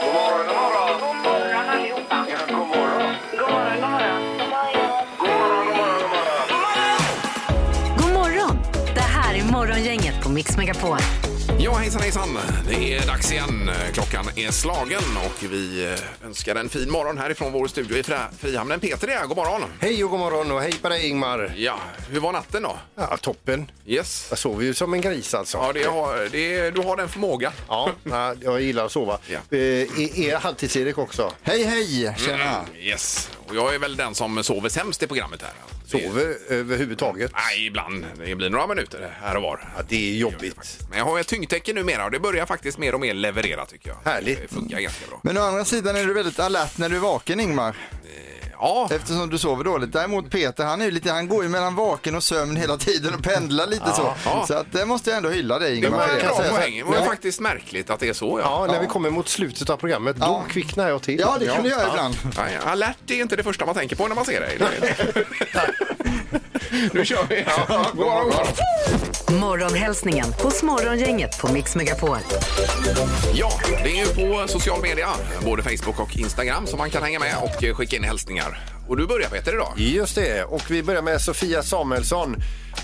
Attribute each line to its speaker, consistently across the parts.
Speaker 1: God morgon, god morgon. God morgon allihopa. Ja, god morgon. God morgon, god morgon. God morgon, god morgon, god morgon.
Speaker 2: God morgon! Det här är Morgongänget på Mix Megapol.
Speaker 3: Ja, hejsan hejsan. Det är dags igen. Klockan är slagen och vi eh, önskar en fin morgon härifrån vår studio i Fra- Frihamnen. Peter är här. God morgon.
Speaker 4: Hej och god morgon och hej på dig Ingmar.
Speaker 3: Ja, hur var natten då?
Speaker 4: Ja, toppen.
Speaker 3: Yes.
Speaker 4: Jag sover ju som en gris alltså.
Speaker 3: Ja, det har, det, du har den förmågan.
Speaker 4: Ja, ja, jag gillar att sova.
Speaker 3: Ja.
Speaker 4: Eh, Är är halvtids-Erik också?
Speaker 5: Hej, hej! Tjena!
Speaker 3: Mm, Yes. Och jag är väl den som sover sämst i programmet här. Det,
Speaker 4: Sover överhuvudtaget?
Speaker 3: nej, ibland. Det blir några minuter här och var.
Speaker 4: Ja, det är jobbigt.
Speaker 3: Men jag har ett tyngdtecken numera och det börjar faktiskt mer och mer leverera tycker jag.
Speaker 4: Härligt.
Speaker 3: Det funkar ganska bra.
Speaker 5: Men å andra sidan är du väldigt alert när du är vaken Ingmar,
Speaker 4: Eh,
Speaker 3: Ja,
Speaker 5: eftersom du sover dåligt. Däremot Peter, han, är ju lite, han går ju mellan vaken och sömn hela tiden och pendlar lite
Speaker 3: ja.
Speaker 5: så. Så att det måste jag ändå hylla dig
Speaker 3: det
Speaker 5: Ingmar.
Speaker 3: var
Speaker 5: för
Speaker 3: en
Speaker 5: det.
Speaker 3: bra
Speaker 4: jag säga så här.
Speaker 3: poäng. Det var ju
Speaker 4: Nej.
Speaker 3: faktiskt märkligt att det är så. Ja.
Speaker 4: Ja, när vi kommer mot slutet av programmet,
Speaker 5: Ja.
Speaker 4: då kvicknar jag till.
Speaker 5: Ja, det kan du göra ibland.
Speaker 3: Nej, alert är inte det första man tänker på när man ser dig. nu kör vi! Ja, god morgon, god morgon.
Speaker 2: Morgonhälsningen hos Morgongänget på Mix Megapol.
Speaker 3: ja, det är ju på social media, både Facebook och Instagram, som man kan hänga med och eh, skicka in hälsningar. Och du börjar Peter idag.
Speaker 4: Just det, och vi börjar med Sofia Samuelsson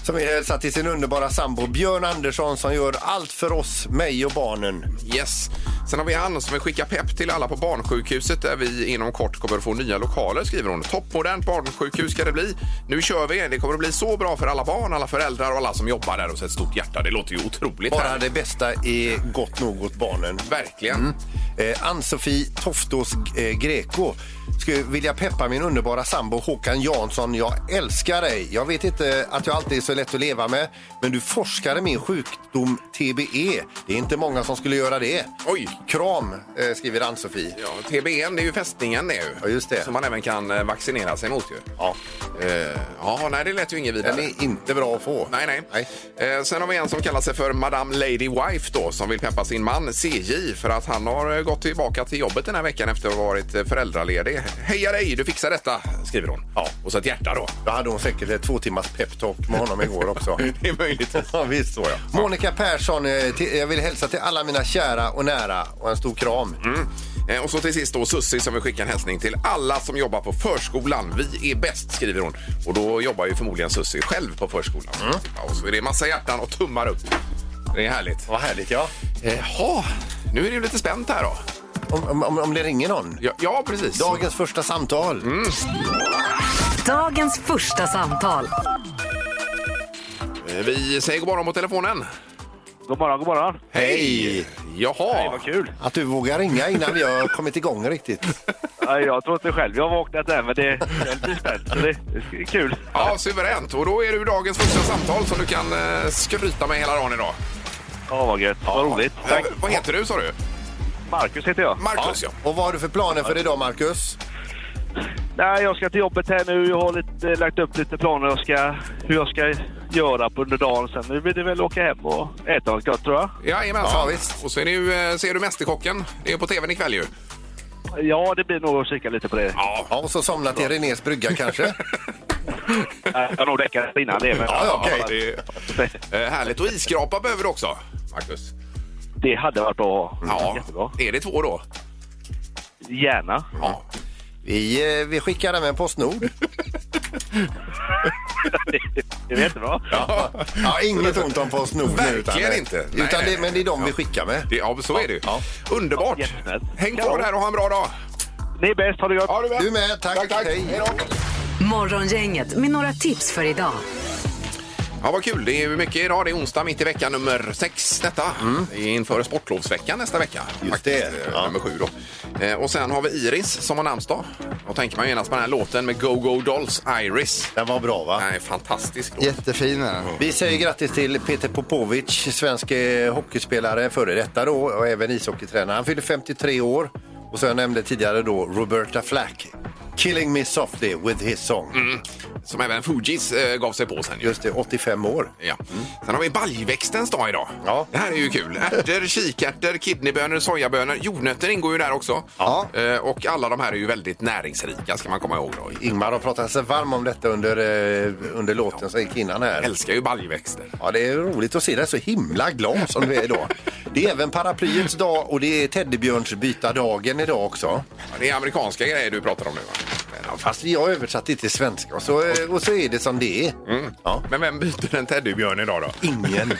Speaker 4: som är hälsat till sin underbara sambo Björn Andersson som gör allt för oss, mig och barnen.
Speaker 3: Yes. Sen har vi Ann som vill skicka pepp till alla på barnsjukhuset där vi inom kort kommer att få nya lokaler, skriver hon. Toppmodernt barnsjukhus ska det bli. Nu kör vi! Det kommer att bli så bra för alla barn, alla föräldrar och alla som jobbar där. Och så ett stort hjärta. Det låter ju otroligt.
Speaker 4: Bara
Speaker 3: härligt.
Speaker 4: det bästa är gott nog åt barnen.
Speaker 3: Verkligen.
Speaker 4: Eh, Ann-Sofie Toftos eh, Greco. Skulle vilja peppa min underbara sambo Håkan Jansson. Jag älskar dig. Jag vet inte att jag alltid är så lätt att leva med, men du forskar i min sjukdom TBE. Det är inte många som skulle göra det.
Speaker 3: Oj.
Speaker 4: Kram, eh, skriver Ann-Sofie.
Speaker 3: Ja, TBN det är ju fästningen det är ju.
Speaker 4: Ja, just det.
Speaker 3: Som man även kan eh, vaccinera sig mot ju.
Speaker 4: Ja,
Speaker 3: Eh, ja, nej det lät ju inget vidare.
Speaker 4: den är inte bra att få.
Speaker 3: Nej, nej.
Speaker 4: Nej.
Speaker 3: Eh, sen har vi en som kallar sig för Madame Lady Wife då, som vill peppa sin man CJ för att han har eh, gått tillbaka till jobbet den här veckan efter att ha varit eh, föräldraledig. Heja dig, du fixar detta, skriver hon. Ja. Och så ett hjärta då.
Speaker 4: Då hade hon säkert ett två timmars peptalk med honom igår också.
Speaker 3: Det är möjligt.
Speaker 4: Ja, visst så ja. Monica Persson, eh, till, jag vill hälsa till alla mina kära och nära och en stor kram.
Speaker 3: Mm. Eh, Och så till sist då Sussi som vill skicka en hälsning till alla som jobbar på förskolan. Vi är bäst, skriver hon. Och då jobbar ju förmodligen Sussi själv på förskolan. Ja, Och så är det massa hjärtan och tummar upp. Det är härligt.
Speaker 4: Vad härligt ja.
Speaker 3: Jaha, nu är det ju lite spänt här då.
Speaker 4: Om, om, om det ringer någon.
Speaker 3: Ja, ja precis.
Speaker 4: Dagens första samtal.
Speaker 2: Dagens första samtal.
Speaker 3: Eh, Vi säger god morgon på telefonen.
Speaker 6: God morgon, god morgon.
Speaker 3: Hej! Jaha.
Speaker 6: Hej, vad kul.
Speaker 4: Att du vågar ringa innan vi har kommit igång riktigt.
Speaker 6: Ja, Jag tror inte själv jag har vaknat än, men det är lite spänt. så Det det är kul.
Speaker 3: Ja, suveränt. Och då är du dagens första samtal som du kan eh, skryta med hela dagen idag.
Speaker 6: Ja, vad gött. Vad roligt. Tack.
Speaker 3: Eh, vad heter du sa du?
Speaker 6: Marcus heter jag.
Speaker 3: Marcus ja.
Speaker 4: Och vad har du för planer för idag Marcus?
Speaker 6: Nej, jag ska till jobbet här nu. Jag har lite, lagt upp lite planer jag ska, hur jag ska göra på under dagen. Sen nu blir det väl åka hem och äta något gott, tror jag.
Speaker 3: Jajamensan.
Speaker 4: Ja, visst.
Speaker 3: Och så är det ju, eh, ser du Mästerkocken. Det är på tvn ikväll ju.
Speaker 6: Ja, det blir nog att kika lite på det.
Speaker 3: Ja.
Speaker 4: Ja, och så somna till Renés brygga kanske?
Speaker 6: Jag har nog räckat innan det. Men...
Speaker 4: Ja, ja, okej.
Speaker 3: det är, eh, härligt. Och isskrapa behöver du också, Marcus.
Speaker 6: Det hade varit bra.
Speaker 3: Ja.
Speaker 6: Jättebra.
Speaker 3: Är det två då?
Speaker 6: Gärna.
Speaker 3: Ja.
Speaker 4: Vi, eh, vi skickar den med Postnord.
Speaker 6: Det är jättebra.
Speaker 4: Ja, inget ont om Postnord nu.
Speaker 3: Verkligen inte. Nej,
Speaker 4: utan
Speaker 3: nej,
Speaker 4: det, men det är de vi skickar med.
Speaker 3: Det, ja, så är det ju.
Speaker 4: Ja.
Speaker 3: Underbart.
Speaker 6: Jättesnällt.
Speaker 3: Häng kvar
Speaker 6: Ja.
Speaker 3: där och ha en bra dag.
Speaker 6: Ni är bäst. Ha det gott.
Speaker 3: du
Speaker 4: Du med, tack.
Speaker 3: Tack, tack.
Speaker 4: Hej.
Speaker 3: Hej då.
Speaker 2: Morgongänget med några tips för idag.
Speaker 3: Ja, vad kul. Det är ju mycket idag. Det är onsdag mitt i veckan nummer sex detta. Det är inför sportlovsveckan nästa vecka.
Speaker 4: Mm. Just det.
Speaker 3: Faktiskt, eh,
Speaker 4: Ja.
Speaker 3: Nummer sju då. Eh, Och sen har vi Iris som har namnsdag. Då tänker man genast på den här låten med Go Go Dolls, Iris.
Speaker 4: Den var bra va?
Speaker 3: Nej, fantastisk låt.
Speaker 5: Jättefin är den.
Speaker 4: Vi säger grattis till Peter Popovic, svensk eh, hockeyspelare, före detta då, och även ishockeytränare. Han fyller 53 år. Och så jag nämnde tidigare då Roberta Flack, Killing Me Softly with his song.
Speaker 3: Som även Fugees eh, gav sig på sen. ju.
Speaker 4: Just det, 85 år.
Speaker 3: Ja. Sen har vi baljväxtens dag idag.
Speaker 4: Ja.
Speaker 3: Det här är ju kul. Ärtor, kikärtor, kidneybönor, sojabönor. Jordnötter ingår ju där också.
Speaker 4: Ja.
Speaker 3: Eh, Och alla de här är ju väldigt näringsrika ska man komma ihåg. Då.
Speaker 4: Ingmar har pratat sig varm om detta under, eh, under låten som gick innan
Speaker 3: Jag
Speaker 4: här.
Speaker 3: älskar ju baljväxter.
Speaker 4: Ja, det är roligt att se dig så himla glad som du är idag. Det är även paraplyets dag och det är teddybjörnsbytardagen idag också.
Speaker 3: Ja, Det är amerikanska grejer du pratar om nu va?
Speaker 4: Ja, fast jag översatte det till svenska och så, eh, och så är det som det är. Ja.
Speaker 3: Men vem byter en teddybjörn idag då?
Speaker 4: Ingen.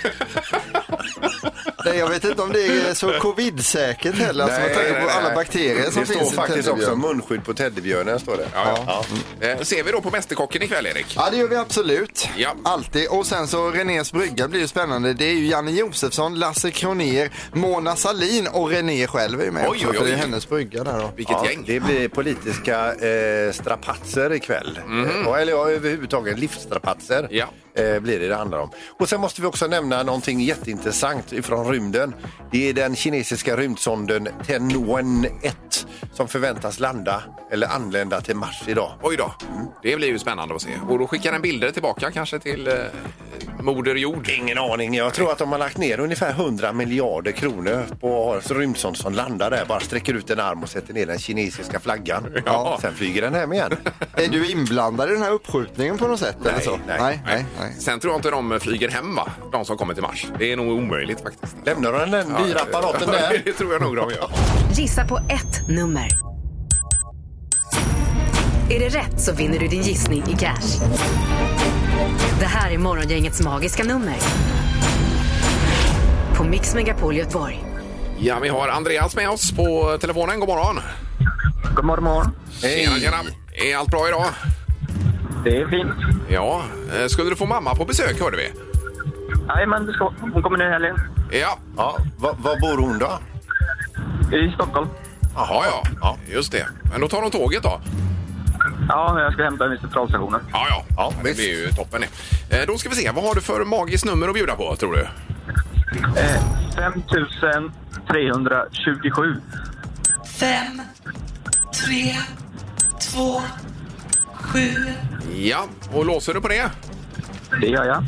Speaker 5: Nej, jag vet inte om det är så covid-säkert heller, alltså, med
Speaker 3: Nej,
Speaker 5: tanke
Speaker 3: nej,
Speaker 5: på
Speaker 3: nej.
Speaker 5: alla bakterier som
Speaker 4: Det står
Speaker 5: finns i
Speaker 4: faktiskt också
Speaker 5: teddybjörn.
Speaker 4: munskydd på teddybjörnen. Står det.
Speaker 3: Ja, ja. Eh, Ser vi då på Mästerkocken ikväll Erik?
Speaker 5: Ja, det gör vi absolut.
Speaker 3: Ja.
Speaker 5: Alltid. Och sen så Renés brygga blir ju spännande. Det är ju Janne Josefsson, Lasse Kronér, Mona Salin och René själv är ju med
Speaker 3: Oj,
Speaker 5: också,
Speaker 3: oj,
Speaker 5: för det är
Speaker 3: oj.
Speaker 5: hennes brygga där då.
Speaker 3: Vilket
Speaker 4: Ja,
Speaker 3: gäng.
Speaker 4: det blir politiska eh, strapatser ikväll. Mm. Eller ja, överhuvudtaget livsstrapatser
Speaker 3: Mhm. Ja.
Speaker 4: eh, blir det det handlar om. Och sen måste vi också nämna någonting jätteintressant ifrån rymden. Det är den kinesiska rymdsonden Tianwen 1 som förväntas landa eller anlända till Mars idag.
Speaker 3: Oj då. Det blir ju spännande att se. Och då skickar den bilder tillbaka kanske till eh, Moder Jord.
Speaker 4: Ingen aning. Jag tror att de har lagt ner ungefär 100 miljarder kronor på rymdsond som landar där. Bara sträcker ut en arm och sätter ner den kinesiska flaggan.
Speaker 3: Ja.
Speaker 4: Sen flyger den hem igen.
Speaker 5: Är du inblandad i den här uppskjutningen på något sätt? eller så?
Speaker 4: nej,
Speaker 5: nej, nej, nej.
Speaker 3: Sen tror jag inte de flyger hem va? De som kommer till Mars. Det är nog omöjligt faktiskt.
Speaker 4: Lämnar de den dyra apparaten där?
Speaker 3: det tror jag nog de gör.
Speaker 2: Gissa på ett nummer. Är det rätt så vinner du din gissning i cash. Det här är Morgongängets magiska nummer. På Mix Megapol Göteborg.
Speaker 3: Ja, vi har Andreas med oss på telefonen. God morgon!
Speaker 7: God morgon, morgon.
Speaker 3: Tjena, tjena. Är allt bra idag?
Speaker 7: Det är fint.
Speaker 3: Ja. Eh, Skulle du få mamma på besök hörde vi?
Speaker 7: Jajamän, det ska Hon kommer nu i helgen.
Speaker 3: Ja.
Speaker 4: Ja, var, var bor hon då?
Speaker 7: I Stockholm.
Speaker 3: Jaha, ja. ja. Just det. Men då tar de tåget då?
Speaker 7: Ja, jag ska hämta henne vid centralstationen.
Speaker 3: Ja, ja. ja det
Speaker 4: visst.
Speaker 3: blir ju toppen. det. Eh, Då ska vi se. Vad har du för magiskt nummer att bjuda på tror du?
Speaker 7: Eh, 5327.
Speaker 8: Fem, tre, två, sju.
Speaker 3: Ja. Och låser du på det?
Speaker 7: Det gör jag.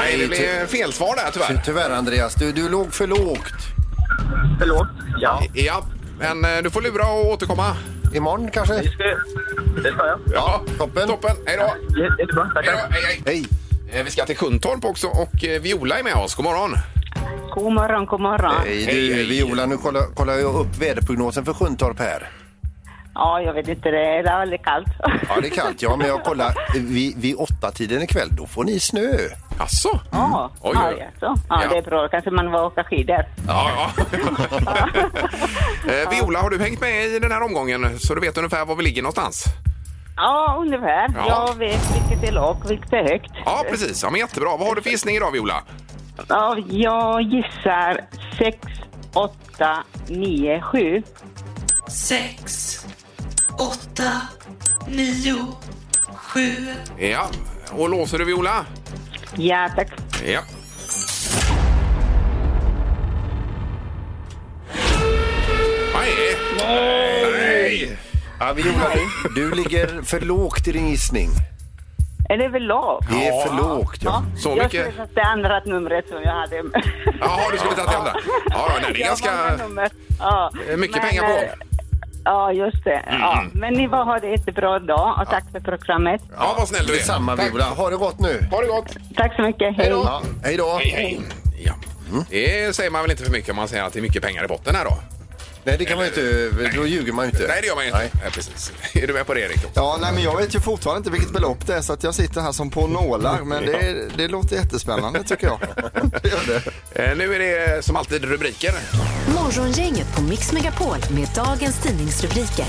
Speaker 3: Nej, det blev fel svar där tyvärr.
Speaker 4: Tyvärr Andreas, du, du låg för lågt.
Speaker 7: Förlåt. Ja,
Speaker 3: Ja. Men eh, du får lura och återkomma.
Speaker 4: Imorgon kanske?
Speaker 7: det ska jag. Det ska jag.
Speaker 3: Ja,
Speaker 4: toppen.
Speaker 3: Toppen. Hej då.
Speaker 7: Det det är bra.
Speaker 3: Hej då.
Speaker 7: Tackar.
Speaker 3: Hej, hej.
Speaker 4: Hej!
Speaker 3: Eh, Vi ska till Sjuntorp också och eh, Viola är med oss. God morgon!
Speaker 9: God morgon, god morgon.
Speaker 4: Hej
Speaker 3: Ah. Hej,
Speaker 4: du
Speaker 3: hej.
Speaker 4: Viola, nu kollar, kollar jag upp väderprognosen för Sjuntorp här.
Speaker 9: Ja, jag vet inte, det är väldigt kallt.
Speaker 4: Ja, det är kallt ja, men jag kollar eh, vid, vid åtta tiden ikväll, då får ni snö.
Speaker 3: Jaså?
Speaker 9: Ja,
Speaker 3: Oj,
Speaker 9: ja,
Speaker 3: oj.
Speaker 9: alltså. ja, det är bra. Kanske man var åka skidor.
Speaker 3: Ja, ja. Eh, Viola, har du hängt med i den här omgången så du vet ungefär var vi ligger någonstans?
Speaker 9: Ja, ungefär.
Speaker 3: Ja.
Speaker 9: Jag vet vilket är lågt, vilket är högt.
Speaker 3: Ja, precis. Ja, men jättebra. Vad har du för gissning idag, Viola?
Speaker 9: Ja, jag gissar 6, 8, 9, 7.
Speaker 8: Sex, åtta, nio, sju.
Speaker 3: Ja. Och låser du, Viola?
Speaker 9: Ja, tack.
Speaker 3: Ja. Nej. Nej.
Speaker 4: Ja, Viola, du- du ligger för lågt i din gissning.
Speaker 9: Är det väl lågt?
Speaker 4: Det är för lågt ja.
Speaker 3: Så
Speaker 9: jag
Speaker 3: mycket-
Speaker 9: skulle tagit det andra numret som jag hade.
Speaker 3: Jaha, du skulle tagit det andra. Ja, ja, nej, det är
Speaker 9: Jag har
Speaker 3: ganska...
Speaker 9: många nummer. Ja.
Speaker 3: Eh, mycket pengar på. Mm.
Speaker 9: eh, Ja, just det. Ja. Men ni var har det jättebra dag och tack för programmet.
Speaker 3: Ja, vad snäll du är.
Speaker 4: Detsamma Viola, ha det gott nu.
Speaker 3: Ha det gott.
Speaker 9: Tack så mycket. Hej.
Speaker 4: Ja, hej då.
Speaker 3: Ja. Mm. Det säger man väl inte för mycket om man säger att det är mycket pengar i botten här då?
Speaker 4: Nej, det kan man ju inte, då ljuger man ju inte.
Speaker 3: Nej, det gör man ju inte. Nej, precis. Är du med på det, Erik? också?
Speaker 5: Ja, nej, men jag vet ju fortfarande inte vilket belopp det är så att jag sitter här som på nålar. Men det, det låter jättespännande tycker jag. Det gör det.
Speaker 3: Eh, Nu är det som alltid rubriker.
Speaker 2: Morgongänget på Mix Megapol med dagens tidningsrubriker.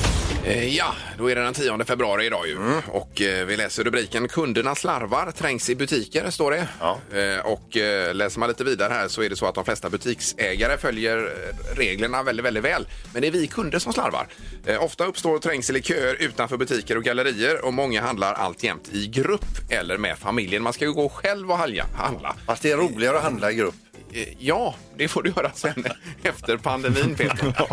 Speaker 3: Eh, Ja, då är det den 10 februari idag ju. Och eh, vi läser rubriken Kunderna slarvar, trängs i butiker, står det.
Speaker 4: Ja.
Speaker 3: Eh, Och eh, läser man lite vidare här så är det så att de flesta butiksägare följer eh, reglerna väldigt, väldigt väl. Men det är vi kunder som slarvar. Eh, Ofta uppstår trängsel i köer utanför butiker och gallerier och många handlar alltjämt i grupp eller med familjen. Man ska ju gå själv och halja- handla.
Speaker 4: Fast det är roligare att handla i grupp.
Speaker 3: Eh, Ja, det får du göra sen efter pandemin, Peter.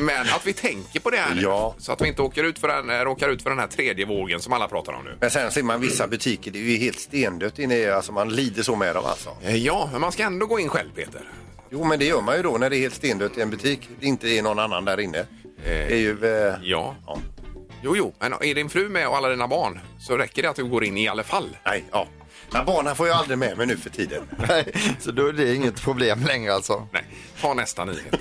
Speaker 3: Men att vi tänker på det här nu,
Speaker 4: Ja.
Speaker 3: så att vi inte åker ut för den, eh, råkar ut för den här tredje vågen som alla pratar om nu.
Speaker 4: Men sen ser man vissa butiker, det är ju helt stendött inne i, alltså man lider så med dem alltså.
Speaker 3: Eh, Ja, men man ska ändå gå in själv, Peter.
Speaker 4: Jo, men det gör man ju då när det är helt stendött i en butik. Det inte är någon annan där inne. Det är ju... Eh,
Speaker 3: Ja.
Speaker 4: ja.
Speaker 3: Jo, jo, men är din fru med och alla dina barn så räcker det att du går in i alla fall.
Speaker 4: Nej, ja. Men barnen får jag aldrig med mig nu för tiden.
Speaker 5: Nej, så då är det inget problem längre alltså.
Speaker 3: Nej, ta nästa nyhet.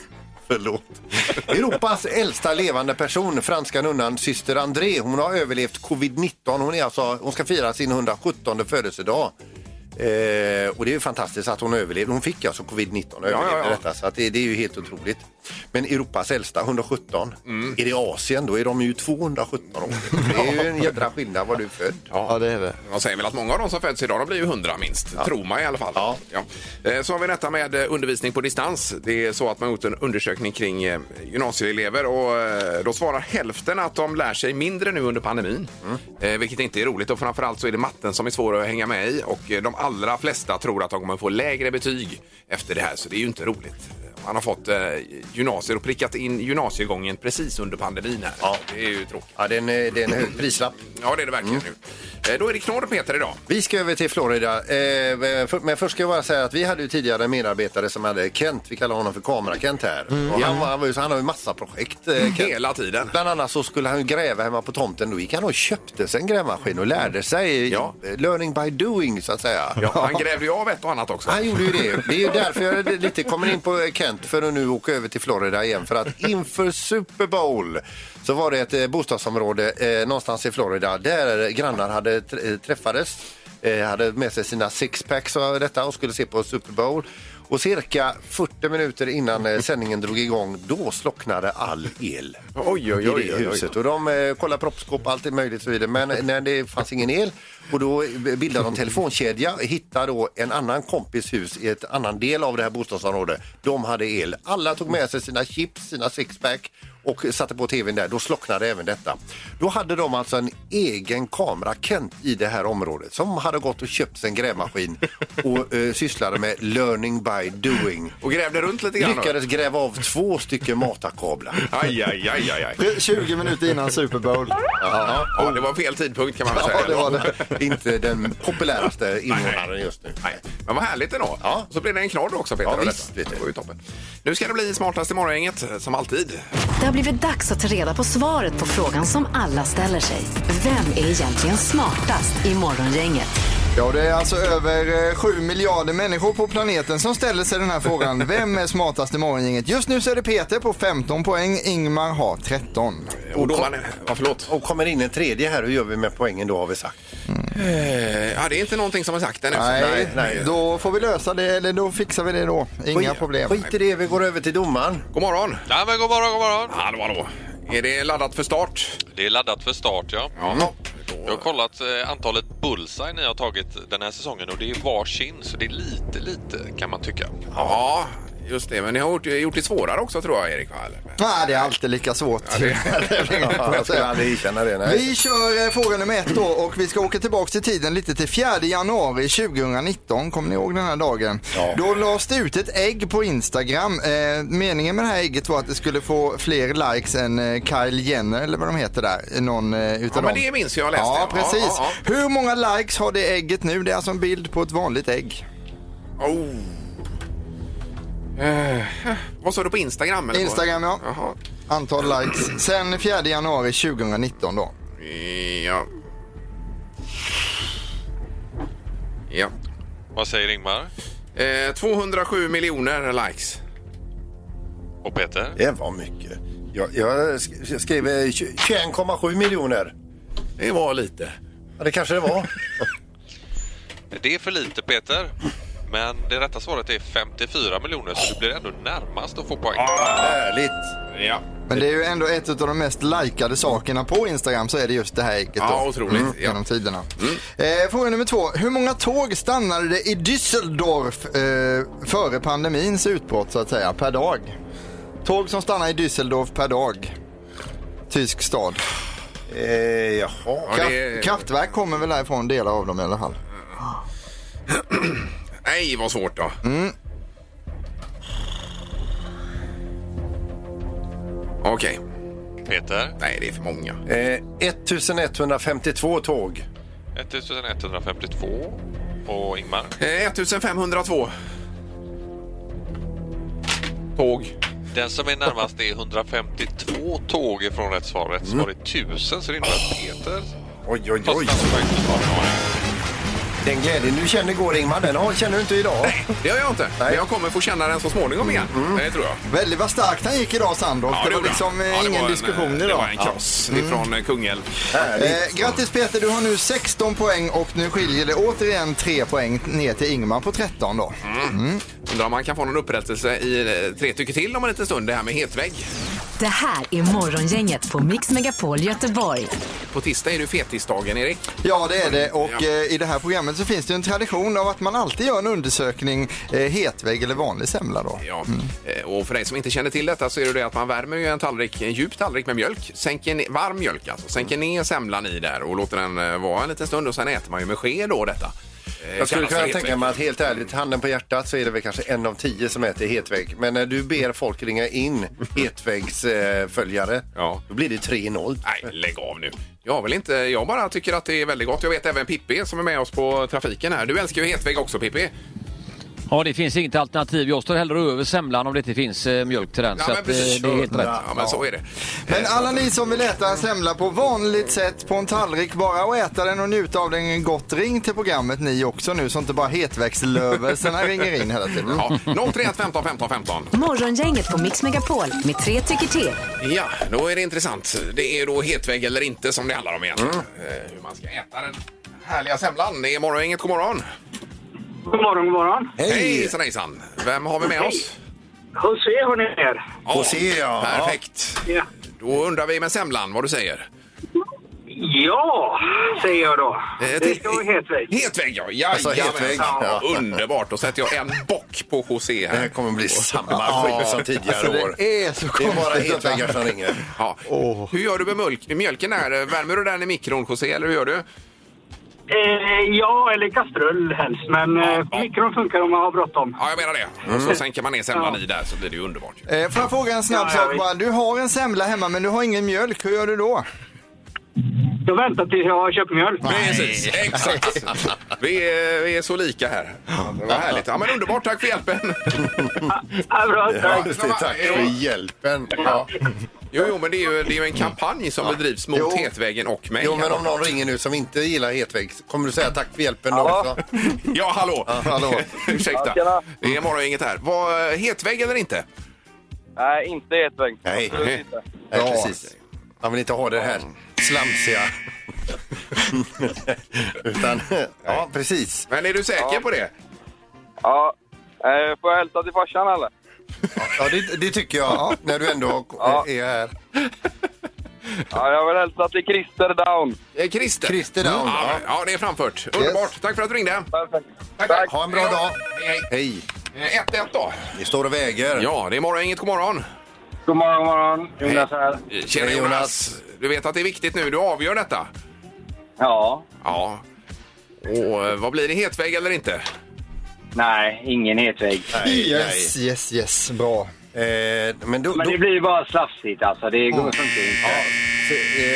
Speaker 4: Förlåt. Europas äldsta levande person, franska nunnan syster André, hon har överlevt covid-19. Hon, är alltså, hon ska fira sin 117 födelsedag. Eh, och det är ju fantastiskt att hon överlevde. Hon fick alltså covid-19 och överlevde
Speaker 3: ja, ja.
Speaker 4: detta. Så att det, det är ju helt otroligt. Men Europas äldsta, 117.
Speaker 3: Mm.
Speaker 4: Är det Asien då är de ju 217 år. Det är ju en jädra skillnad var du är född.
Speaker 5: Ja, det är det.
Speaker 3: Man säger väl att många av de som föds idag de blir ju hundra minst, tror man i alla fall.
Speaker 4: Ja.
Speaker 3: Eh, Så har vi detta med eh, undervisning på distans. Det är så att man har gjort en undersökning kring eh, gymnasieelever och eh, då svarar hälften att de lär sig mindre nu under pandemin.
Speaker 4: Mm.
Speaker 3: Eh, Vilket inte är roligt och framförallt så är det matten som är svår att hänga med i och eh, de allra flesta tror att de kommer få lägre betyg efter det här så det är ju inte roligt. Man har fått eh, gymnasier och prickat in gymnasiegången precis under pandemin här.
Speaker 4: Ja.
Speaker 3: Det är ju tråkigt.
Speaker 4: Ja, det är en, eh, det är en hög prislapp.
Speaker 3: Ja, det är det verkligen
Speaker 4: Mm.
Speaker 3: nu. Eh, Då är det knorr Peter idag.
Speaker 4: Vi ska över till Florida. Eh, för- Men först ska jag bara säga att vi hade ju tidigare en medarbetare som hade Kent, vi kallar honom för Kamera-Kent här. Och han, var, han, var ju, så- han har ju massa projekt, eh, Kent.
Speaker 3: Mm. Hela tiden.
Speaker 4: Bland annat så skulle han ju gräva hemma på tomten. Då gick han och köpte sig en grävmaskin och lärde sig
Speaker 3: Ja.
Speaker 4: eh, learning by doing så att säga.
Speaker 3: Ja, han grävde ju av ett och annat också.
Speaker 4: Han gjorde ju det. Det är ju därför jag lite kommer in på Kent för att nu åka över till Florida igen. För att inför Super Bowl så var det ett eh, bostadsområde eh, någonstans i Florida där grannar hade tr- eh, träffades, eh, hade med sig sina sixpacks och detta och skulle se på Super Bowl. Och cirka 40 minuter innan eh, sändningen drog igång, då slocknade all el
Speaker 3: Oj, oj,
Speaker 4: i det huset. Och de eh, kollar proppskåp, allt är möjligt och så vidare. Men när det fanns ingen el och då bildade de telefonkedja hittar då en annan kompis hus i ett annan del av det här bostadsområdet. De hade el. Alla tog med sig sina chips, sina sixpack och satte på tvn där. Då slocknade även detta. Då hade de alltså en egen kamera, Kent, i det här området som hade gått och köpt sig en grävmaskin och eh, sysslade med learning by doing.
Speaker 3: Och grävde runt lite grann. då.
Speaker 4: Lyckades gräva av två stycken matarkablar.
Speaker 3: Aj, aj, aj, aj, aj.
Speaker 5: 20 minuter innan Super Bowl.
Speaker 4: Ja.
Speaker 3: Ja, det var fel tidpunkt kan man väl säga.
Speaker 5: Ja, det var det.
Speaker 4: inte den populäraste invånaren just nu.
Speaker 3: Nej, men vad härligt ändå.
Speaker 4: Ja.
Speaker 3: Så blev det en knorr också Peter.
Speaker 4: Ja,
Speaker 3: och
Speaker 4: visst,
Speaker 3: detta.
Speaker 4: vet du.
Speaker 3: Det var ju toppen. Nu ska det bli smartast i morgongänget som alltid.
Speaker 2: Det har blivit dags att ta reda på svaret på frågan som alla ställer sig. Vem är egentligen smartast i Morgongänget?
Speaker 5: Ja, det är alltså över eh, 7 miljarder människor på planeten som ställer sig den här frågan. Vem är smartast i morgongänget? Just nu så är det Peter på 15 poäng, Ingmar har 13.
Speaker 3: Och domaren... Ja, förlåt.
Speaker 4: Och kommer in en tredje här, hur gör vi med poängen då har vi sagt?
Speaker 3: Eh, Ja, det är inte någonting som är sagt Eh, ännu.
Speaker 5: Nej,
Speaker 4: Alltså, nej.
Speaker 5: då får vi lösa det, eller då fixar vi det då. Inga problem.
Speaker 4: Skit i det, vi går över till domaren.
Speaker 3: God morgon.
Speaker 6: Ja, men god morgon, god morgon.
Speaker 3: Hallå, hallå. Är det laddat för start? Mm.
Speaker 6: Det är laddat för start, ja.
Speaker 3: Ja.
Speaker 6: Jag har kollat eh, antalet bullseye ni har tagit den här säsongen och det är varsin, så det är lite, lite kan man tycka.
Speaker 3: Ja, just det. Men ni har gjort, gjort det svårare också tror jag, Erik. va? Eller?
Speaker 5: Nej, det är alltid lika svårt.
Speaker 4: Ja, jag skulle aldrig erkänna det. Nej.
Speaker 5: Vi kör eh, fråga nummer ett då och vi ska åka tillbaka till tiden lite till 4 januari 2019. Kommer ni ihåg den här dagen?
Speaker 4: Ja.
Speaker 5: Då lades det ut ett ägg på Instagram. Eh, meningen med det här ägget var att det skulle få fler likes än eh, Kyle Jenner eller vad de heter där. Någon eh, utav
Speaker 3: Ja,
Speaker 5: dem.
Speaker 3: men det minns jag, jag läste.
Speaker 5: Ja, precis.
Speaker 3: Ja,
Speaker 5: Hur många likes har det ägget nu? Det är alltså en bild på ett vanligt ägg.
Speaker 3: ja. Oh. Eh, Vad sa du på Instagram? Eller på-
Speaker 5: Instagram, ja.
Speaker 3: Jaha.
Speaker 5: Antal likes. Sen 4 januari 2019 då.
Speaker 3: Ja. Ja.
Speaker 6: Vad säger Ingmar?
Speaker 3: Eh, 207 miljoner likes.
Speaker 6: Och Peter?
Speaker 4: Det var mycket. Jag, jag sk- jag skrev eh, tj- 21,7 miljoner.
Speaker 3: Det var lite.
Speaker 4: Ja, det kanske det var.
Speaker 6: Det är för lite Peter. Men det rätta svaret är 54 miljoner, så du blir ändå närmast att få poäng.
Speaker 4: Härligt.
Speaker 3: Ja,
Speaker 5: Men det är ju ändå ett av de mest likade sakerna på Instagram så är det just det här ägget då. Mm,
Speaker 3: ja otroligt.
Speaker 5: genom
Speaker 3: Ja. Mm.
Speaker 5: tiderna. Eh, fråga nummer två. Hur många tåg stannade det i Düsseldorf eh, före pandemins utbrott så att säga, per dag? Tåg som stannar i Düsseldorf per dag. Tysk stad.
Speaker 4: Eh, jaha.
Speaker 3: Ja, det-
Speaker 5: Kraft, kraftverk kommer väl därifrån, delar av dem i alla fall.
Speaker 3: Nej, vad svårt då. Okej.
Speaker 10: Peter,
Speaker 3: Nej, det är för många.
Speaker 4: Eh, 1152 tåg.
Speaker 10: 1152. Och Ingmar,
Speaker 3: Eh, 1502. Tåg.
Speaker 10: den som är närmast är 152 tåg ifrån rätt svar. Rätt svar är 1000 så det innebär att Peter
Speaker 4: Oj, oj,
Speaker 10: fastnar
Speaker 4: oj.
Speaker 10: på faktiskt svaret.
Speaker 4: Den glädjen du känner går Ingmar, den har- känner du inte idag.
Speaker 3: Det gör jag inte. Men jag kommer få känna den så småningom igen. Det tror jag.
Speaker 5: Väldigt vad starkt han gick idag Sandholt. det, var
Speaker 3: gjorde
Speaker 5: liksom
Speaker 3: han.
Speaker 5: eh,
Speaker 3: Ja, det
Speaker 5: ingen
Speaker 3: var en,
Speaker 5: diskussion
Speaker 3: eh, Det var
Speaker 5: idag.
Speaker 3: en kross ifrån eh, Kungälv.
Speaker 5: Eh, grattis Peter, du har nu 16 poäng och nu skiljer det återigen 3 poäng ner till Ingmar på 13 då.
Speaker 3: Mm. Undrar om man kan få någon upprättelse i eh, tre tycker till om en liten stund. Det här med hetvägg.
Speaker 2: Det här är Morgongänget på Mix Megapol Göteborg.
Speaker 3: På tisdag är det ju fettisdagen, Erik.
Speaker 5: Ja, det är det. Och
Speaker 3: Ja.
Speaker 5: eh, i det här programmet så finns det ju en tradition av att man alltid gör en undersökning, eh, hetvägg eller vanlig semla då.
Speaker 3: Ja. Eh, Och för dig som inte känner till detta så är det det att man värmer ju en tallrik, en djup tallrik med mjölk, sänker ner, varm mjölk alltså, sänker ner semlan i där och låter den eh, vara en liten stund och sen äter man ju med ske då detta. Eh,
Speaker 4: Jag skulle
Speaker 3: kallas
Speaker 4: kunna
Speaker 3: för
Speaker 4: tänka mig att helt ärligt, handen på hjärtat så är det väl kanske en av tio som äter hetvägg. Men när du ber folk ringa in hetväggsföljare, eh, följare,
Speaker 3: Ja. Äh.
Speaker 4: då blir det 3-0.
Speaker 3: Nej, lägg av nu. Jag vill inte, jag bara tycker att det är väldigt gott. Jag vet även Pippi som är med oss på trafiken här. Du älskar ju hetvägg också Pippi.
Speaker 11: Ja, det finns inget alternativ. Jag står hellre över semlan om det inte finns eh, mjölk till den. så att, eh, det är helt rätt.
Speaker 3: Ja, men så är det.
Speaker 5: Men alla ni som vill äta en semla på vanligt sätt på en tallrik bara och äta den och njuta av den gott ring till programmet ni också nu så inte bara hetväxtlövelserna ringer in hela tiden.
Speaker 3: Ja, 031 15 15 15.
Speaker 2: Morgongänget på Mix Megapol med tre tycker till.
Speaker 3: Ja, då är det intressant. Det är då hetvägg eller inte som det handlar om egentligen.
Speaker 11: Mm.
Speaker 3: Eh, Hur man ska äta den härliga semlan. Det är morgongänget, god morgon.
Speaker 7: God morgon, god morgon.
Speaker 3: Hej! Hejsan hejsan! Vem har vi med oss?
Speaker 7: José, hör ni er?
Speaker 3: Ja,
Speaker 4: José, ja.
Speaker 3: Perfekt!
Speaker 7: Ja.
Speaker 3: Då undrar vi med semlan vad du säger.
Speaker 7: Ja, säger jag då.
Speaker 3: Eh,
Speaker 7: Det
Speaker 3: till-
Speaker 7: ska vara hetvägg.
Speaker 3: Hetvägg ja! ja
Speaker 4: Alltså, hetvägg. Ja.
Speaker 3: Underbart! Då sätter jag en bock på José
Speaker 4: Det här
Speaker 3: här.
Speaker 4: kommer bli samma skit som tidigare
Speaker 5: Alltså
Speaker 4: år.
Speaker 5: det är så
Speaker 4: Det är bara
Speaker 5: konstigt.
Speaker 4: hetväggar som ringer.
Speaker 3: Ja. Hur gör du med mjölk, mjölken? Här? Värmer du den i mikron José eller hur gör du?
Speaker 7: Eh, ja, eller kastrull helst. Men eh,
Speaker 3: ja.
Speaker 7: mikron funkar om man har bråttom.
Speaker 3: Ja, jag menar det. Och
Speaker 4: Mm.
Speaker 3: så sänker man ner semlan
Speaker 7: Ja.
Speaker 3: i där så blir det ju underbart. ju.
Speaker 5: Eh, Får jag fråga en snabb
Speaker 7: Ja, ja,
Speaker 5: sak
Speaker 7: visst.
Speaker 5: bara? Du har en semla hemma men du har ingen mjölk, hur gör du då?
Speaker 7: Jag väntar tills jag har köpt mjölk.
Speaker 3: Precis, exakt. Vi är, vi är så lika här. Det var härligt. Ja, men underbart, tack för hjälpen.
Speaker 7: Ja, bra,
Speaker 4: Ja,
Speaker 7: tack.
Speaker 4: just det, tack för hjälpen. Ja.
Speaker 3: Jo, jo men det är ju, det är ju en kampanj som bedrivs mot
Speaker 5: Jo.
Speaker 3: Hetvägen och mig.
Speaker 4: Jo, men om någon ringer nu som inte gillar hetvägg, kommer du säga tack för hjälpen då
Speaker 7: Ja.
Speaker 4: också?
Speaker 3: Ja, hallå!
Speaker 5: hallå.
Speaker 3: Ursäkta.
Speaker 7: Ja, tjena.
Speaker 3: Det är morgongänget här. Var Hetvägg eller inte?
Speaker 7: Nej, inte hetvägg.
Speaker 4: Nej,
Speaker 3: Nej.
Speaker 4: nej precis. Man vill inte ha det här slamsiga. Utan, ja precis.
Speaker 3: Men är du säker på det?
Speaker 7: Ja. Eh, får jag hälsa till farsan eller?
Speaker 4: Ja, det, det tycker jag. När du ändå är här.
Speaker 7: Ja, jag vill hälsa till Christer Down.
Speaker 3: Eh, Christer?
Speaker 4: Christer Down,
Speaker 3: Ja,
Speaker 4: ja.
Speaker 3: men- ja, det är framfört. Underbart. Tack för att du ringde.
Speaker 7: Perfekt.
Speaker 4: Ha en bra dag.
Speaker 3: Hej,
Speaker 4: Hej.
Speaker 3: hej. Eh, 1-1 då.
Speaker 4: Vi står och väger. Eh,
Speaker 3: Ja, det är morgongänget. God morgon.
Speaker 7: God morgon, god morgon. Jonas här.
Speaker 3: Tjena
Speaker 4: Hej,
Speaker 3: Jonas.
Speaker 4: Jonas.
Speaker 3: Du vet att det är viktigt nu. Du avgör detta.
Speaker 7: Ja.
Speaker 3: Ja. Och eh, vad blir det? Hetvägg eller inte?
Speaker 7: Nej, ingen hetvägg.
Speaker 4: Nej,
Speaker 5: Yes, yes, yes, bra.
Speaker 4: nej. Eh, men då, då,
Speaker 7: Men det blir ju bara slafsigt alltså. Det går funkar inte.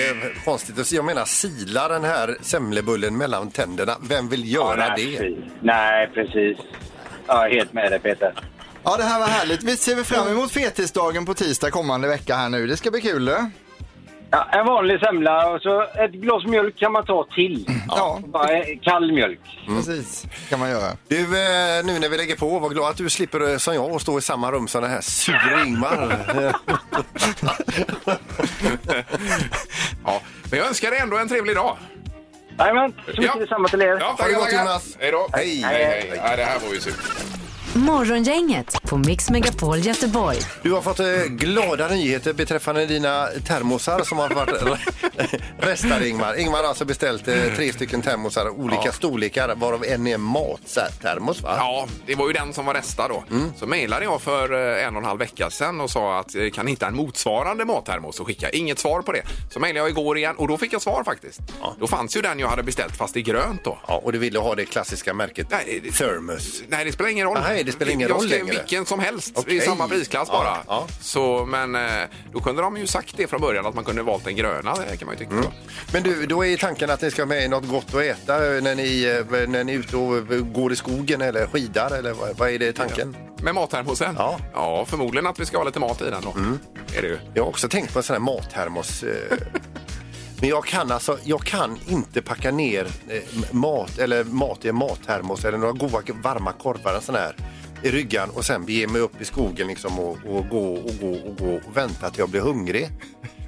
Speaker 4: eh, konstigt att se. Jag menar, sila den här semlebullen mellan tänderna. Vem vill göra
Speaker 7: nej,
Speaker 4: det?
Speaker 7: precis. Nej, precis. Ja, helt med dig Peter.
Speaker 5: Ja, det här var härligt. Vi ser vi fram emot fetisdagen på tisdag kommande vecka här nu. Det ska bli kul. eh? du.
Speaker 7: Ja, en vanlig semla och så ett glas mjölk kan man ta till.
Speaker 5: Ja,
Speaker 7: Bara eh, kall mjölk.
Speaker 3: Mm.
Speaker 5: precis. kan man göra.
Speaker 4: Du, eh, nu när vi lägger på, var glad att du slipper eh, som jag och stå i samma rum som den här sure Ingmar.
Speaker 3: Ja, men jag önskar dig ändå en trevlig dag.
Speaker 7: Jajamän, så mycket
Speaker 3: Ja.
Speaker 7: detsamma till er.
Speaker 3: Ja,
Speaker 4: Ha det gott,
Speaker 3: tackar.
Speaker 4: Jonas.
Speaker 3: Hej då.
Speaker 4: Hej.
Speaker 3: hej. hej. Ja, det här var ju surt.
Speaker 2: Morgongänget på Mix Megapol Göteborg.
Speaker 4: Du har fått eh, glada nyheter beträffande dina termosar som har varit re- restar Ingmar. Ingmar har alltså beställt eh, tre stycken termosar, olika
Speaker 3: Ja.
Speaker 4: storlekar, varav en är mattermos va?
Speaker 3: Ja, det var ju den som var resta då.
Speaker 4: Mm.
Speaker 3: Så mejlade jag för eh, en och en halv vecka sedan och sa att eh, kan ni hitta en motsvarande mattermos och skicka. Inget svar på det. Så mejlade jag igår igen och då fick jag svar faktiskt. Då fanns ju den jag hade beställt fast i grönt då.
Speaker 4: Ja, och du ville ha det klassiska märket Thermos.
Speaker 3: Nej, det spelar ingen roll.
Speaker 4: Nej, det spelar ingen
Speaker 3: jag
Speaker 4: roll
Speaker 3: skrev
Speaker 4: längre.
Speaker 3: vilken som helst i
Speaker 4: Okej.
Speaker 3: samma prisklass
Speaker 4: Ja,
Speaker 3: bara.
Speaker 4: ja.
Speaker 3: Så, men eh, då kunde de ju sagt det från början att man kunde valt den gröna det kan man ju tycka.
Speaker 4: Mm.
Speaker 3: då.
Speaker 4: Men du, då är tanken att ni ska ha med er något gott att äta eh, när ni, eh, när ni är ute och eh, går i skogen eller skidar eller vad, vad är det tanken?
Speaker 3: Med mattermosen? Ja. ja, förmodligen att vi ska ha lite mat i den då.
Speaker 4: Mm.
Speaker 3: Är det ju.
Speaker 4: Jag har också tänkt på en sån här mattermos. eh, Men jag kan alltså, jag kan inte packa ner eh, m- mat eller mat i en mattermos eller några goda varma korvar en sån här i ryggen och sen bege mig upp i skogen liksom och, och gå och gå och gå och vänta till jag blir hungrig.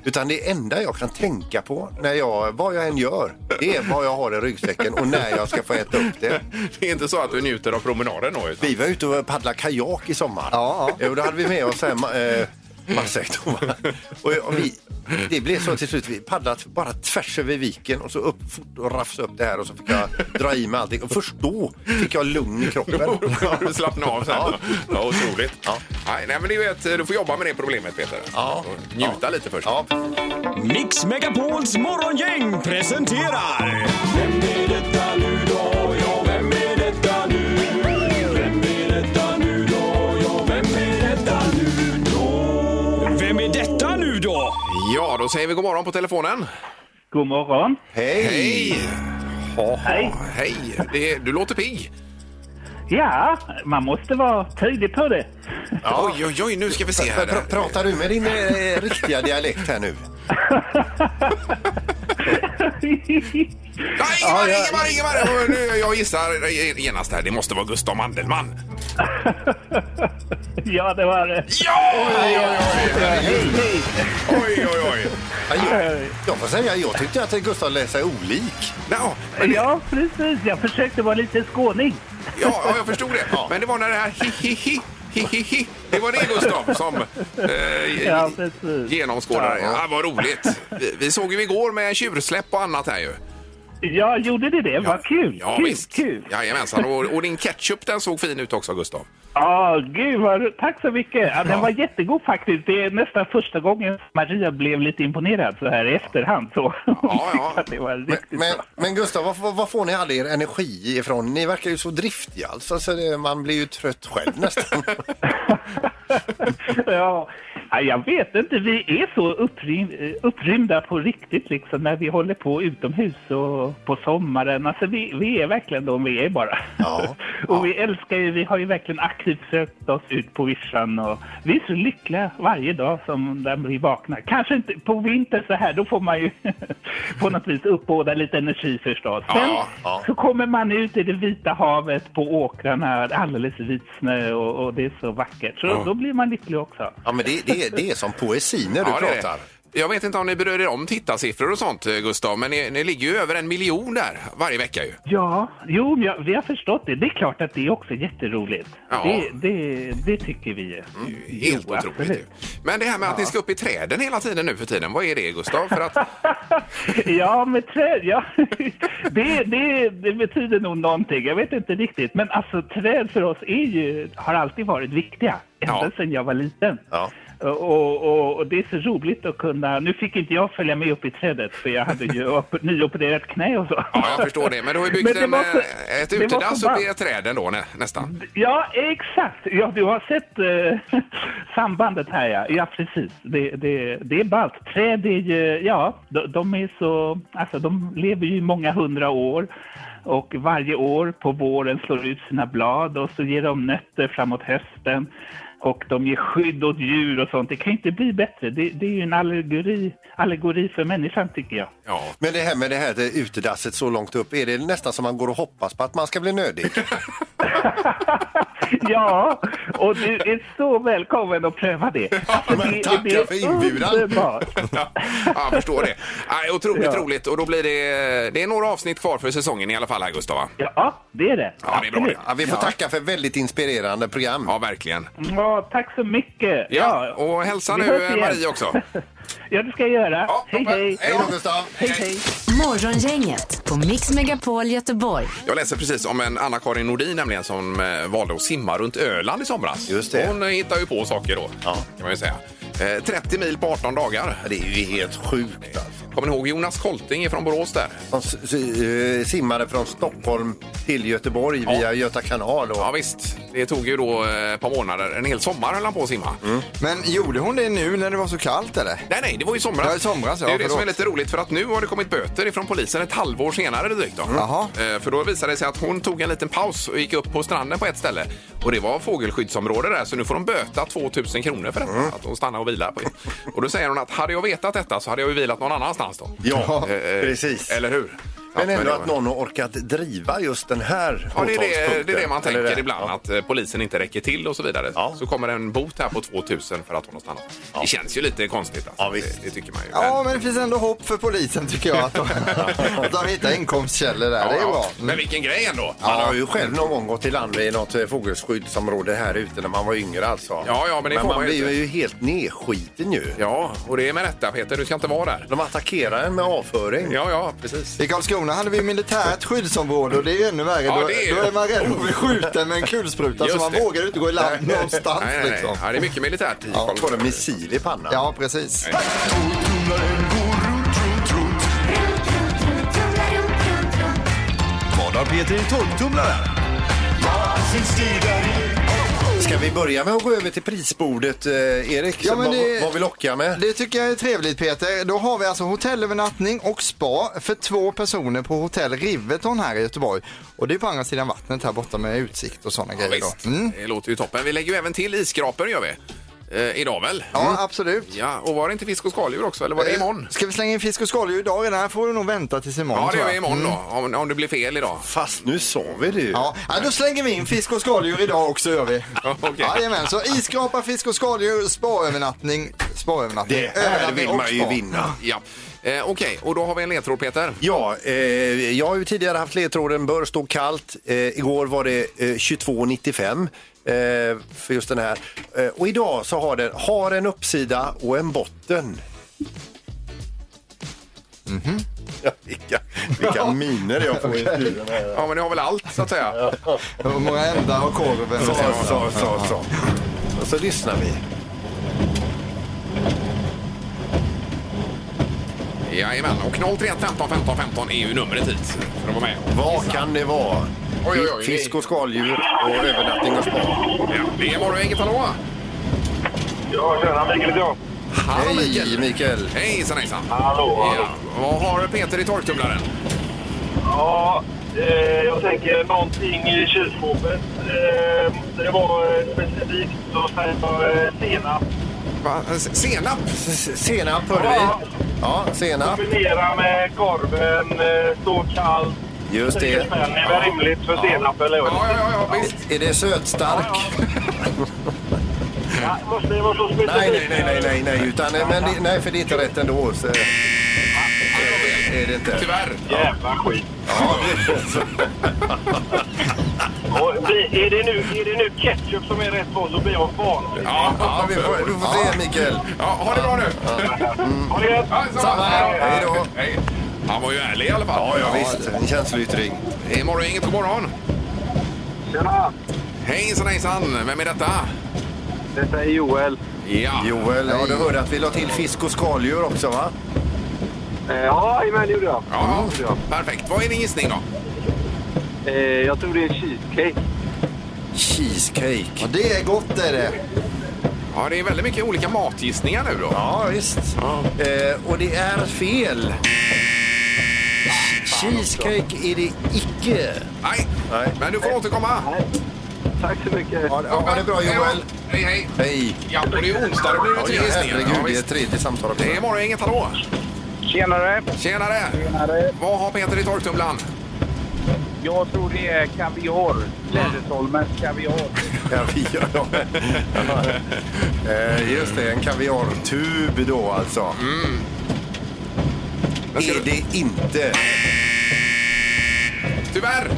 Speaker 4: Utan det enda jag kan tänka på när jag, vad jag än gör, det är vad jag har i ryggsäcken och när jag ska få äta upp det.
Speaker 3: Det är inte så att du njuter av promenaden då? Utan...
Speaker 4: Vi var ute och paddlade kajak i sommar. Ja, ja. Och då hade vi med oss en ma- eh, matsäck. då, va? Och jag- och vi, det blev så till slut, vi paddlade bara tvärs över viken och så upp fort och rafsa upp det här och så fick jag dra i mig allting. Och först då fick jag lugn i kroppen. Då
Speaker 3: du slappna av sen. Ja. Ja, otroligt. Nej, nej, men du vet, du får jobba med det problemet Peter. Ja. Njuta lite först. Ja.
Speaker 12: Mix Megapols morgongäng presenterar... Vem är detta nu då? Ja, vem är detta nu? Vem är detta nu då? Ja, vem är detta nu då? Vem är detta nu då?
Speaker 3: ja, då säger vi god morgon på telefonen.
Speaker 13: God morgon.
Speaker 4: Hej!
Speaker 3: Hej! Hej! Hej. Det, du låter pigg.
Speaker 13: Ja, man måste vara tydlig på det.
Speaker 3: Oj, oj, oj, nu ska vi se
Speaker 4: Pr- pr-
Speaker 3: här.
Speaker 4: pratar du med din eh, riktiga dialekt här nu?
Speaker 3: Ja, Ingemar, Ingemar, Ingemar! Och nu- Jag gissar genast här, det måste vara Gustav Mandelmann.
Speaker 13: ja, det var eh, det.
Speaker 3: Ja! Oj, oj, oj!
Speaker 13: Hej,
Speaker 3: Oj, oj, oj!
Speaker 4: Ja, Jag, jag får säga, jag tyckte att Gustav lät sig olik.
Speaker 13: hej. Ja, precis. Jag försökte vara lite skåning.
Speaker 3: Ja, ja, jag förstod det. Men det var när det här hi-hi-hi, hi-hi-hi. Det var det Gustav som eh,
Speaker 13: Ja, precis.
Speaker 3: genomskådade.
Speaker 13: Ja.
Speaker 3: Ja, vad roligt. Vi, vi såg ju igår med tjursläpp och annat här ju.
Speaker 13: Ja, gjorde det det? Vad kul!
Speaker 3: Ja,
Speaker 13: kul,
Speaker 3: visst.
Speaker 13: kul!
Speaker 3: Jajamensan. Och, och din ketchup den såg fin ut också Gustav.
Speaker 13: Ja, gud vad... Tack så mycket! Ja, den var jättegod faktiskt. Det är nästan första gången Maria blev lite imponerad så här i efterhand. Så. Ja, ja. det var riktigt
Speaker 4: Men, men Gustav, vad- vad, vad får ni all er energi ifrån? Ni verkar ju så driftiga alltså, så det, man blir ju trött själv nästan.
Speaker 13: ja, ja, jag vet inte. Vi är så upprym- eh, upprymda på riktigt liksom när vi håller på utomhus och på sommaren. Alltså vi, vi är verkligen de vi är bara. och vi älskar ju, vi har ju verkligen aktivt sökt oss ut på vischan och vi är så lyckliga varje dag som när vi vaknar. Kanske inte på vintern så här, då får man ju på något vis uppbåda lite energi förstås. Sen så kommer man ut i det vita havet på åkrarna, alldeles vit snö och, och det är så vackert. Så
Speaker 4: Ja.
Speaker 13: då blir man lycklig också.
Speaker 4: Ja, men det, det, det är som poesi när du
Speaker 3: Ja, det är det.
Speaker 4: pratar.
Speaker 3: Jag vet inte om ni bryr er om tittarsiffror och sånt eh, Gustav, men ni, ni ligger ju över en miljon där varje vecka ju.
Speaker 13: Ja, jo, men jag, vi har förstått det. Det är klart att det är också jätteroligt.
Speaker 3: Ja.
Speaker 13: Det, det, det tycker vi.
Speaker 3: Helt otroligt ju. Men det här med att ni ska upp i träden hela tiden nu för tiden, vad är det Gustav? För att,
Speaker 13: Ja, med träd, ja. Det, det, det betyder nog någonting. Jag vet inte riktigt. Men alltså träd för oss är ju, har alltid varit viktiga. Ända sedan jag var liten. Och, och, och det är så roligt att kunna... Nu fick inte jag följa med upp i trädet för jag hade ju op- nyopererat knä och så.
Speaker 3: ja, jag förstår det. Men du har ju byggt
Speaker 13: Men det
Speaker 3: en,
Speaker 13: var så-
Speaker 3: eh, ett
Speaker 13: det var så
Speaker 3: utedass uppe i
Speaker 13: varmt.
Speaker 3: träden då nä, nästan.
Speaker 13: Ja, exakt. Ja, du har sett eh, sambandet här, ja. Ja, precis. Det, det, det är ballt. Träd är ju, ja, de, de är så, alltså de lever ju i många hundra år. Och varje år på våren slår ut sina blad och så ger de nötter framåt hösten. Och de ger skydd åt djur och sånt. Det kan ju inte bli bättre. Det, det är ju en allegori, allegori för människan, tycker jag.
Speaker 4: Men det här med det här det utedasset så långt upp, är det nästan som man går och hoppas på att man ska bli nödig?
Speaker 13: Ja, och du är så välkommen att pröva det. Alltså, det,
Speaker 3: Tackar för inbjudan.
Speaker 13: underbart.
Speaker 3: ja, jag förstår det. Nej, otroligt roligt. Och då blir det, det är några avsnitt kvar för säsongen i alla fall, här, Gustav. va?
Speaker 13: Ja, det är det.
Speaker 3: Ja, det är bra.
Speaker 4: Ja, vi får tacka
Speaker 3: för väldigt inspirerande program. Ja, verkligen.
Speaker 13: Ja, tack så mycket.
Speaker 3: Ja, och hälsa
Speaker 13: vi
Speaker 3: nu,
Speaker 13: hörs igen.
Speaker 3: Marie, också.
Speaker 13: Ja, det ska jag göra. hej, hej.
Speaker 3: Hej då, Gustav.
Speaker 13: Hej, hej.
Speaker 2: Morgongänget på Mix Megapol Göteborg.
Speaker 3: Jag läser precis om en Anna-Karin Nordin nämligen som eh, valde att simma runt Öland i somras. Just det. Hon eh, hittar ju på saker då, kan man ju säga. Eh, 30 mil på 18 dagar. Det är ju helt sjukt. Kommer ni ihåg Jonas Kolting från Borås där?
Speaker 4: Som alltså. s- s- eh, simmade från Stockholm till Göteborg via Göta kanal. Och...
Speaker 3: Ja, visst. Det tog ju då eh, ett par månader. En hel sommar höll han på att simma.
Speaker 5: Men gjorde hon det nu när det var så kallt eller?
Speaker 3: Nej, nej, det var i somras.
Speaker 5: Ja, i somras, ja,
Speaker 3: det är ju det som är
Speaker 5: förlåt.
Speaker 3: lite roligt för att nu har det kommit böter ifrån polisen ett halvår senare drygt. Då.
Speaker 4: Mm.
Speaker 3: Eh, För då visade det sig att hon tog en liten paus och gick upp på stranden på ett ställe. Och det var fågelskyddsområde där så nu får de böta 2000 kronor för detta.
Speaker 4: Mm.
Speaker 3: Att hon stannar och vilar. På. och då säger hon att hade jag vetat detta så hade jag ju vilat någon annanstans då.
Speaker 4: Ja,
Speaker 3: Eh, eh,
Speaker 4: precis.
Speaker 3: Eller hur?
Speaker 4: Men
Speaker 3: Ja,
Speaker 4: ändå
Speaker 3: det-
Speaker 4: att någon har orkat driva just den här
Speaker 3: Ja, det, är det, det är det
Speaker 4: åtalspunkten.
Speaker 3: man tänker
Speaker 4: Eller det?
Speaker 3: ibland, att eh, polisen inte räcker till och så vidare. Så kommer en bot här på 2000 för att hon har stannat. Det känns ju lite konstigt. Alltså. Det, det tycker man ju.
Speaker 5: Ja, men det finns ändå hopp för polisen tycker jag. Att de, att de hittar inkomstkällor där, det är
Speaker 4: Ja, ja.
Speaker 5: bra. Mm.
Speaker 3: Men vilken grej ändå!
Speaker 4: Man har ju själv någon gång gått i land i något eh, fågelskyddsområde här ute när man var yngre alltså.
Speaker 3: Ja, ja, men det får
Speaker 4: man
Speaker 3: man ju
Speaker 4: blir
Speaker 3: inte.
Speaker 4: ju helt nedskiten ju.
Speaker 3: Ja, och det är med rätta Peter, du ska inte vara där.
Speaker 4: De attackerar en med avföring.
Speaker 3: Ja, ja, precis.
Speaker 5: I Karlskrona hade vi militärt skyddsområde och det är ju ännu värre.
Speaker 3: Ja,
Speaker 5: då,
Speaker 3: det är-
Speaker 5: då är man rädd att bli skjuten med en kulspruta så
Speaker 3: Just
Speaker 5: man
Speaker 3: det.
Speaker 5: vågar ju inte gå i land
Speaker 3: Nej.
Speaker 5: någonstans.
Speaker 3: Nej, nej, nej.
Speaker 5: Liksom.
Speaker 3: Ja, det är mycket militärt i
Speaker 5: Ja,
Speaker 4: Får en missil i pannan.
Speaker 5: ja precis.
Speaker 12: Vad har Peter i torktumlaren?
Speaker 4: Ska vi börja med att gå över till prisbordet, eh, Erik?
Speaker 5: Ja, men
Speaker 4: vad,
Speaker 5: det-
Speaker 4: vad vi lockar med?
Speaker 5: Det tycker jag är trevligt Peter. Då har vi alltså hotellövernattning och spa för två personer på hotell Riveton här i Göteborg. Och det är på andra sidan vattnet här borta med utsikt och sådana
Speaker 3: Ja,
Speaker 5: grejer.
Speaker 3: visst.
Speaker 5: Då. Mm.
Speaker 3: Det låter ju toppen. Vi lägger ju även till isskrapor gör vi. Eh, idag väl?
Speaker 5: Ja, absolut.
Speaker 3: Ja, och var det inte fisk och skaldjur också, eller var det
Speaker 5: Eh,
Speaker 3: imorgon?
Speaker 5: Ska vi slänga in fisk och skaldjur idag? redan? här får du nog vänta tills imorgon.
Speaker 3: Ja, det
Speaker 5: tror
Speaker 3: gör vi
Speaker 5: jag.
Speaker 3: imorgon
Speaker 5: Mm.
Speaker 3: då, om, om det blir fel idag.
Speaker 4: Fast nu sa vi det ju.
Speaker 5: Ja, ja, då slänger vi in fisk och skaldjur idag också gör vi.
Speaker 3: Okej.
Speaker 5: Jajamän, så iskrapa, fisk och skaldjur, spaövernattning. Spaövernattning.
Speaker 4: Det här vill man ju vinna.
Speaker 3: Ja. Eh, Okej, och då har vi en ledtråd Peter.
Speaker 4: Ja, eh, jag har ju tidigare haft ledtråden bör stå kallt. Eh, igår var det eh, 22,95 eh, för just den här. Eh, och idag så har den har en uppsida och en botten. Mhm. Ja, vilka vilka miner jag får i studion här.
Speaker 3: Ja, men ni har väl allt så att säga.
Speaker 5: Hur många ändar har korven?
Speaker 4: Så, så, så, så. Och så lyssnar vi.
Speaker 3: Jajamän, och 031 15 15 15 är ju numret hit för att vara med.
Speaker 4: Vad kan det vara?
Speaker 3: Oj, oj, oj.
Speaker 4: Fisk och skaldjur och övernattning och spa.
Speaker 3: Ja, det är morgon, inget hallå!
Speaker 6: Ja, tjena. Mikael heter jag.
Speaker 3: Hallå
Speaker 4: Hej,
Speaker 3: Mikael!
Speaker 4: Mikael.
Speaker 3: Hejsan hejsan!
Speaker 6: Hallå, hallå.
Speaker 3: Ja. Vad har Peter i torktumlaren?
Speaker 6: Ja, eh, jag tänker någonting i kylskåpet. Eh, det var eh, specifikt så säger jag eh, senap.
Speaker 3: Va? Senap?
Speaker 4: S- Senap hörde vi. Ja, senap.
Speaker 6: Kombinera med korven, eh, stå kall.
Speaker 4: Just det.
Speaker 6: Tre spänn är väl rimligt för senap, eller hur?
Speaker 3: Ja, ja, ja, visst.
Speaker 4: Är det sötstark?
Speaker 6: Ja, måste det vara så specifikt?
Speaker 4: Nej, nej, nej, nej, nej, nej, utan, nej, men, det- nej för det är inte rätt ändå. Så, eh, är det inte.
Speaker 3: Tyvärr.
Speaker 6: Jävla skit.
Speaker 4: Ja, det-
Speaker 6: Och, blir- är, det nu, är det nu ketchup som är rätt på så blir jag vanlig.
Speaker 3: Ja,
Speaker 4: ja, vi får, du får se, Mikael.
Speaker 3: Ja, ha det bra nu!
Speaker 6: Ha det gött!
Speaker 3: Ja,
Speaker 4: Samma här. Hej då.
Speaker 3: Hej. Han var ju ärlig i alla fall.
Speaker 4: Ja, ja, visst. En känsloyttring.
Speaker 3: Det är morgon, inget god morgon.
Speaker 6: Tjena!
Speaker 3: Hejsan hejsan, vem är detta?
Speaker 6: Detta är Joel.
Speaker 3: Ja,
Speaker 4: Joel, ja, du hörde att vi la till fisk och skaldjur också, va?
Speaker 6: Ja, jajamän, det gjorde jag.
Speaker 3: ja, perfekt. Vad är din gissning då?
Speaker 6: jag tror det är cheesecake.
Speaker 4: Cheesecake.
Speaker 5: Ja, det är gott är det.
Speaker 3: Ja, det är väldigt mycket olika matgissningar nu då.
Speaker 4: Ja, visst. Eh, och det är fel. Cheesecake är det icke.
Speaker 3: Nej,
Speaker 4: Nej.
Speaker 3: men du får återkomma.
Speaker 6: Tack så mycket.
Speaker 4: Ha, det- ha det bra, Joel.
Speaker 3: Hej, hej.
Speaker 4: Hej.
Speaker 3: Ja, och det är onsdag, det blir ju
Speaker 4: Ja,
Speaker 3: tre gissningar.
Speaker 4: herregud,
Speaker 3: Ja,
Speaker 4: det är
Speaker 3: visst.
Speaker 4: tredje samtalet.
Speaker 3: Det är morgon, inget hallå.
Speaker 6: Tjenare!
Speaker 3: Tjenare! Vad har Peter i torktumlaren?
Speaker 13: Jag tror det är kaviar. Läderholmens kaviar.
Speaker 4: Kaviar, ja. Eh, Just det, en kaviartub då alltså. Är det inte.
Speaker 3: Tyvärr!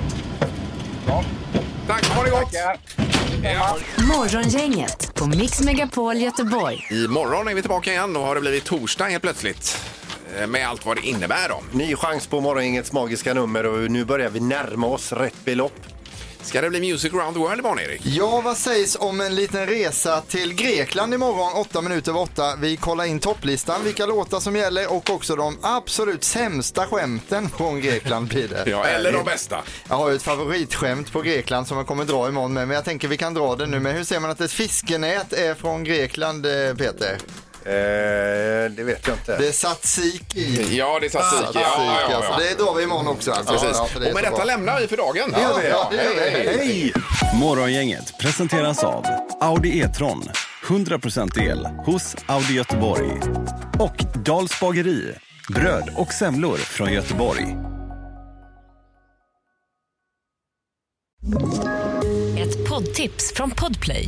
Speaker 3: Tack, ha det gott! Ja.
Speaker 14: Morgongänget på Mix Megapol Göteborg.
Speaker 3: Imorgon är vi tillbaka igen. Då har det blivit torsdag helt plötsligt. Eh, Med allt vad det innebär då.
Speaker 4: Ny chans på Morgongängets magiska nummer och nu börjar vi närma oss rätt belopp.
Speaker 3: Ska det bli Music around the world imorgon, Erik?
Speaker 5: Ja, vad sägs om en liten resa till Grekland imorgon 8 minuter över 8. Vi kollar in topplistan, vilka låtar som gäller och också de absolut sämsta skämten från Grekland blir det.
Speaker 3: Ja, eller de bästa.
Speaker 5: Jag har ju ett favoritskämt på Grekland som jag kommer dra imorgon med, men jag tänker vi kan dra det nu. Men hur ser man att ett fiskenät är från Grekland, eh, Peter?
Speaker 4: Eh, det vet jag inte.
Speaker 5: Det är tzatziki.
Speaker 3: Ja, det är tzatziki. Ja, ja, ja, ja.
Speaker 5: Alltså. Det drar vi imorgon också. Alltså.
Speaker 3: Precis.
Speaker 5: Ja, för det är
Speaker 3: och med
Speaker 5: så
Speaker 3: detta
Speaker 5: bra.
Speaker 3: lämnar vi för dagen.
Speaker 5: Det gör vi. Ja, det gör vi.
Speaker 3: hej.
Speaker 5: Hej.
Speaker 7: Morgongänget presenteras av Audi E-tron. 100% el hos Audi Göteborg. Och Dals bageri. Bröd och semlor från Göteborg.
Speaker 2: Ett poddtips från Podplay.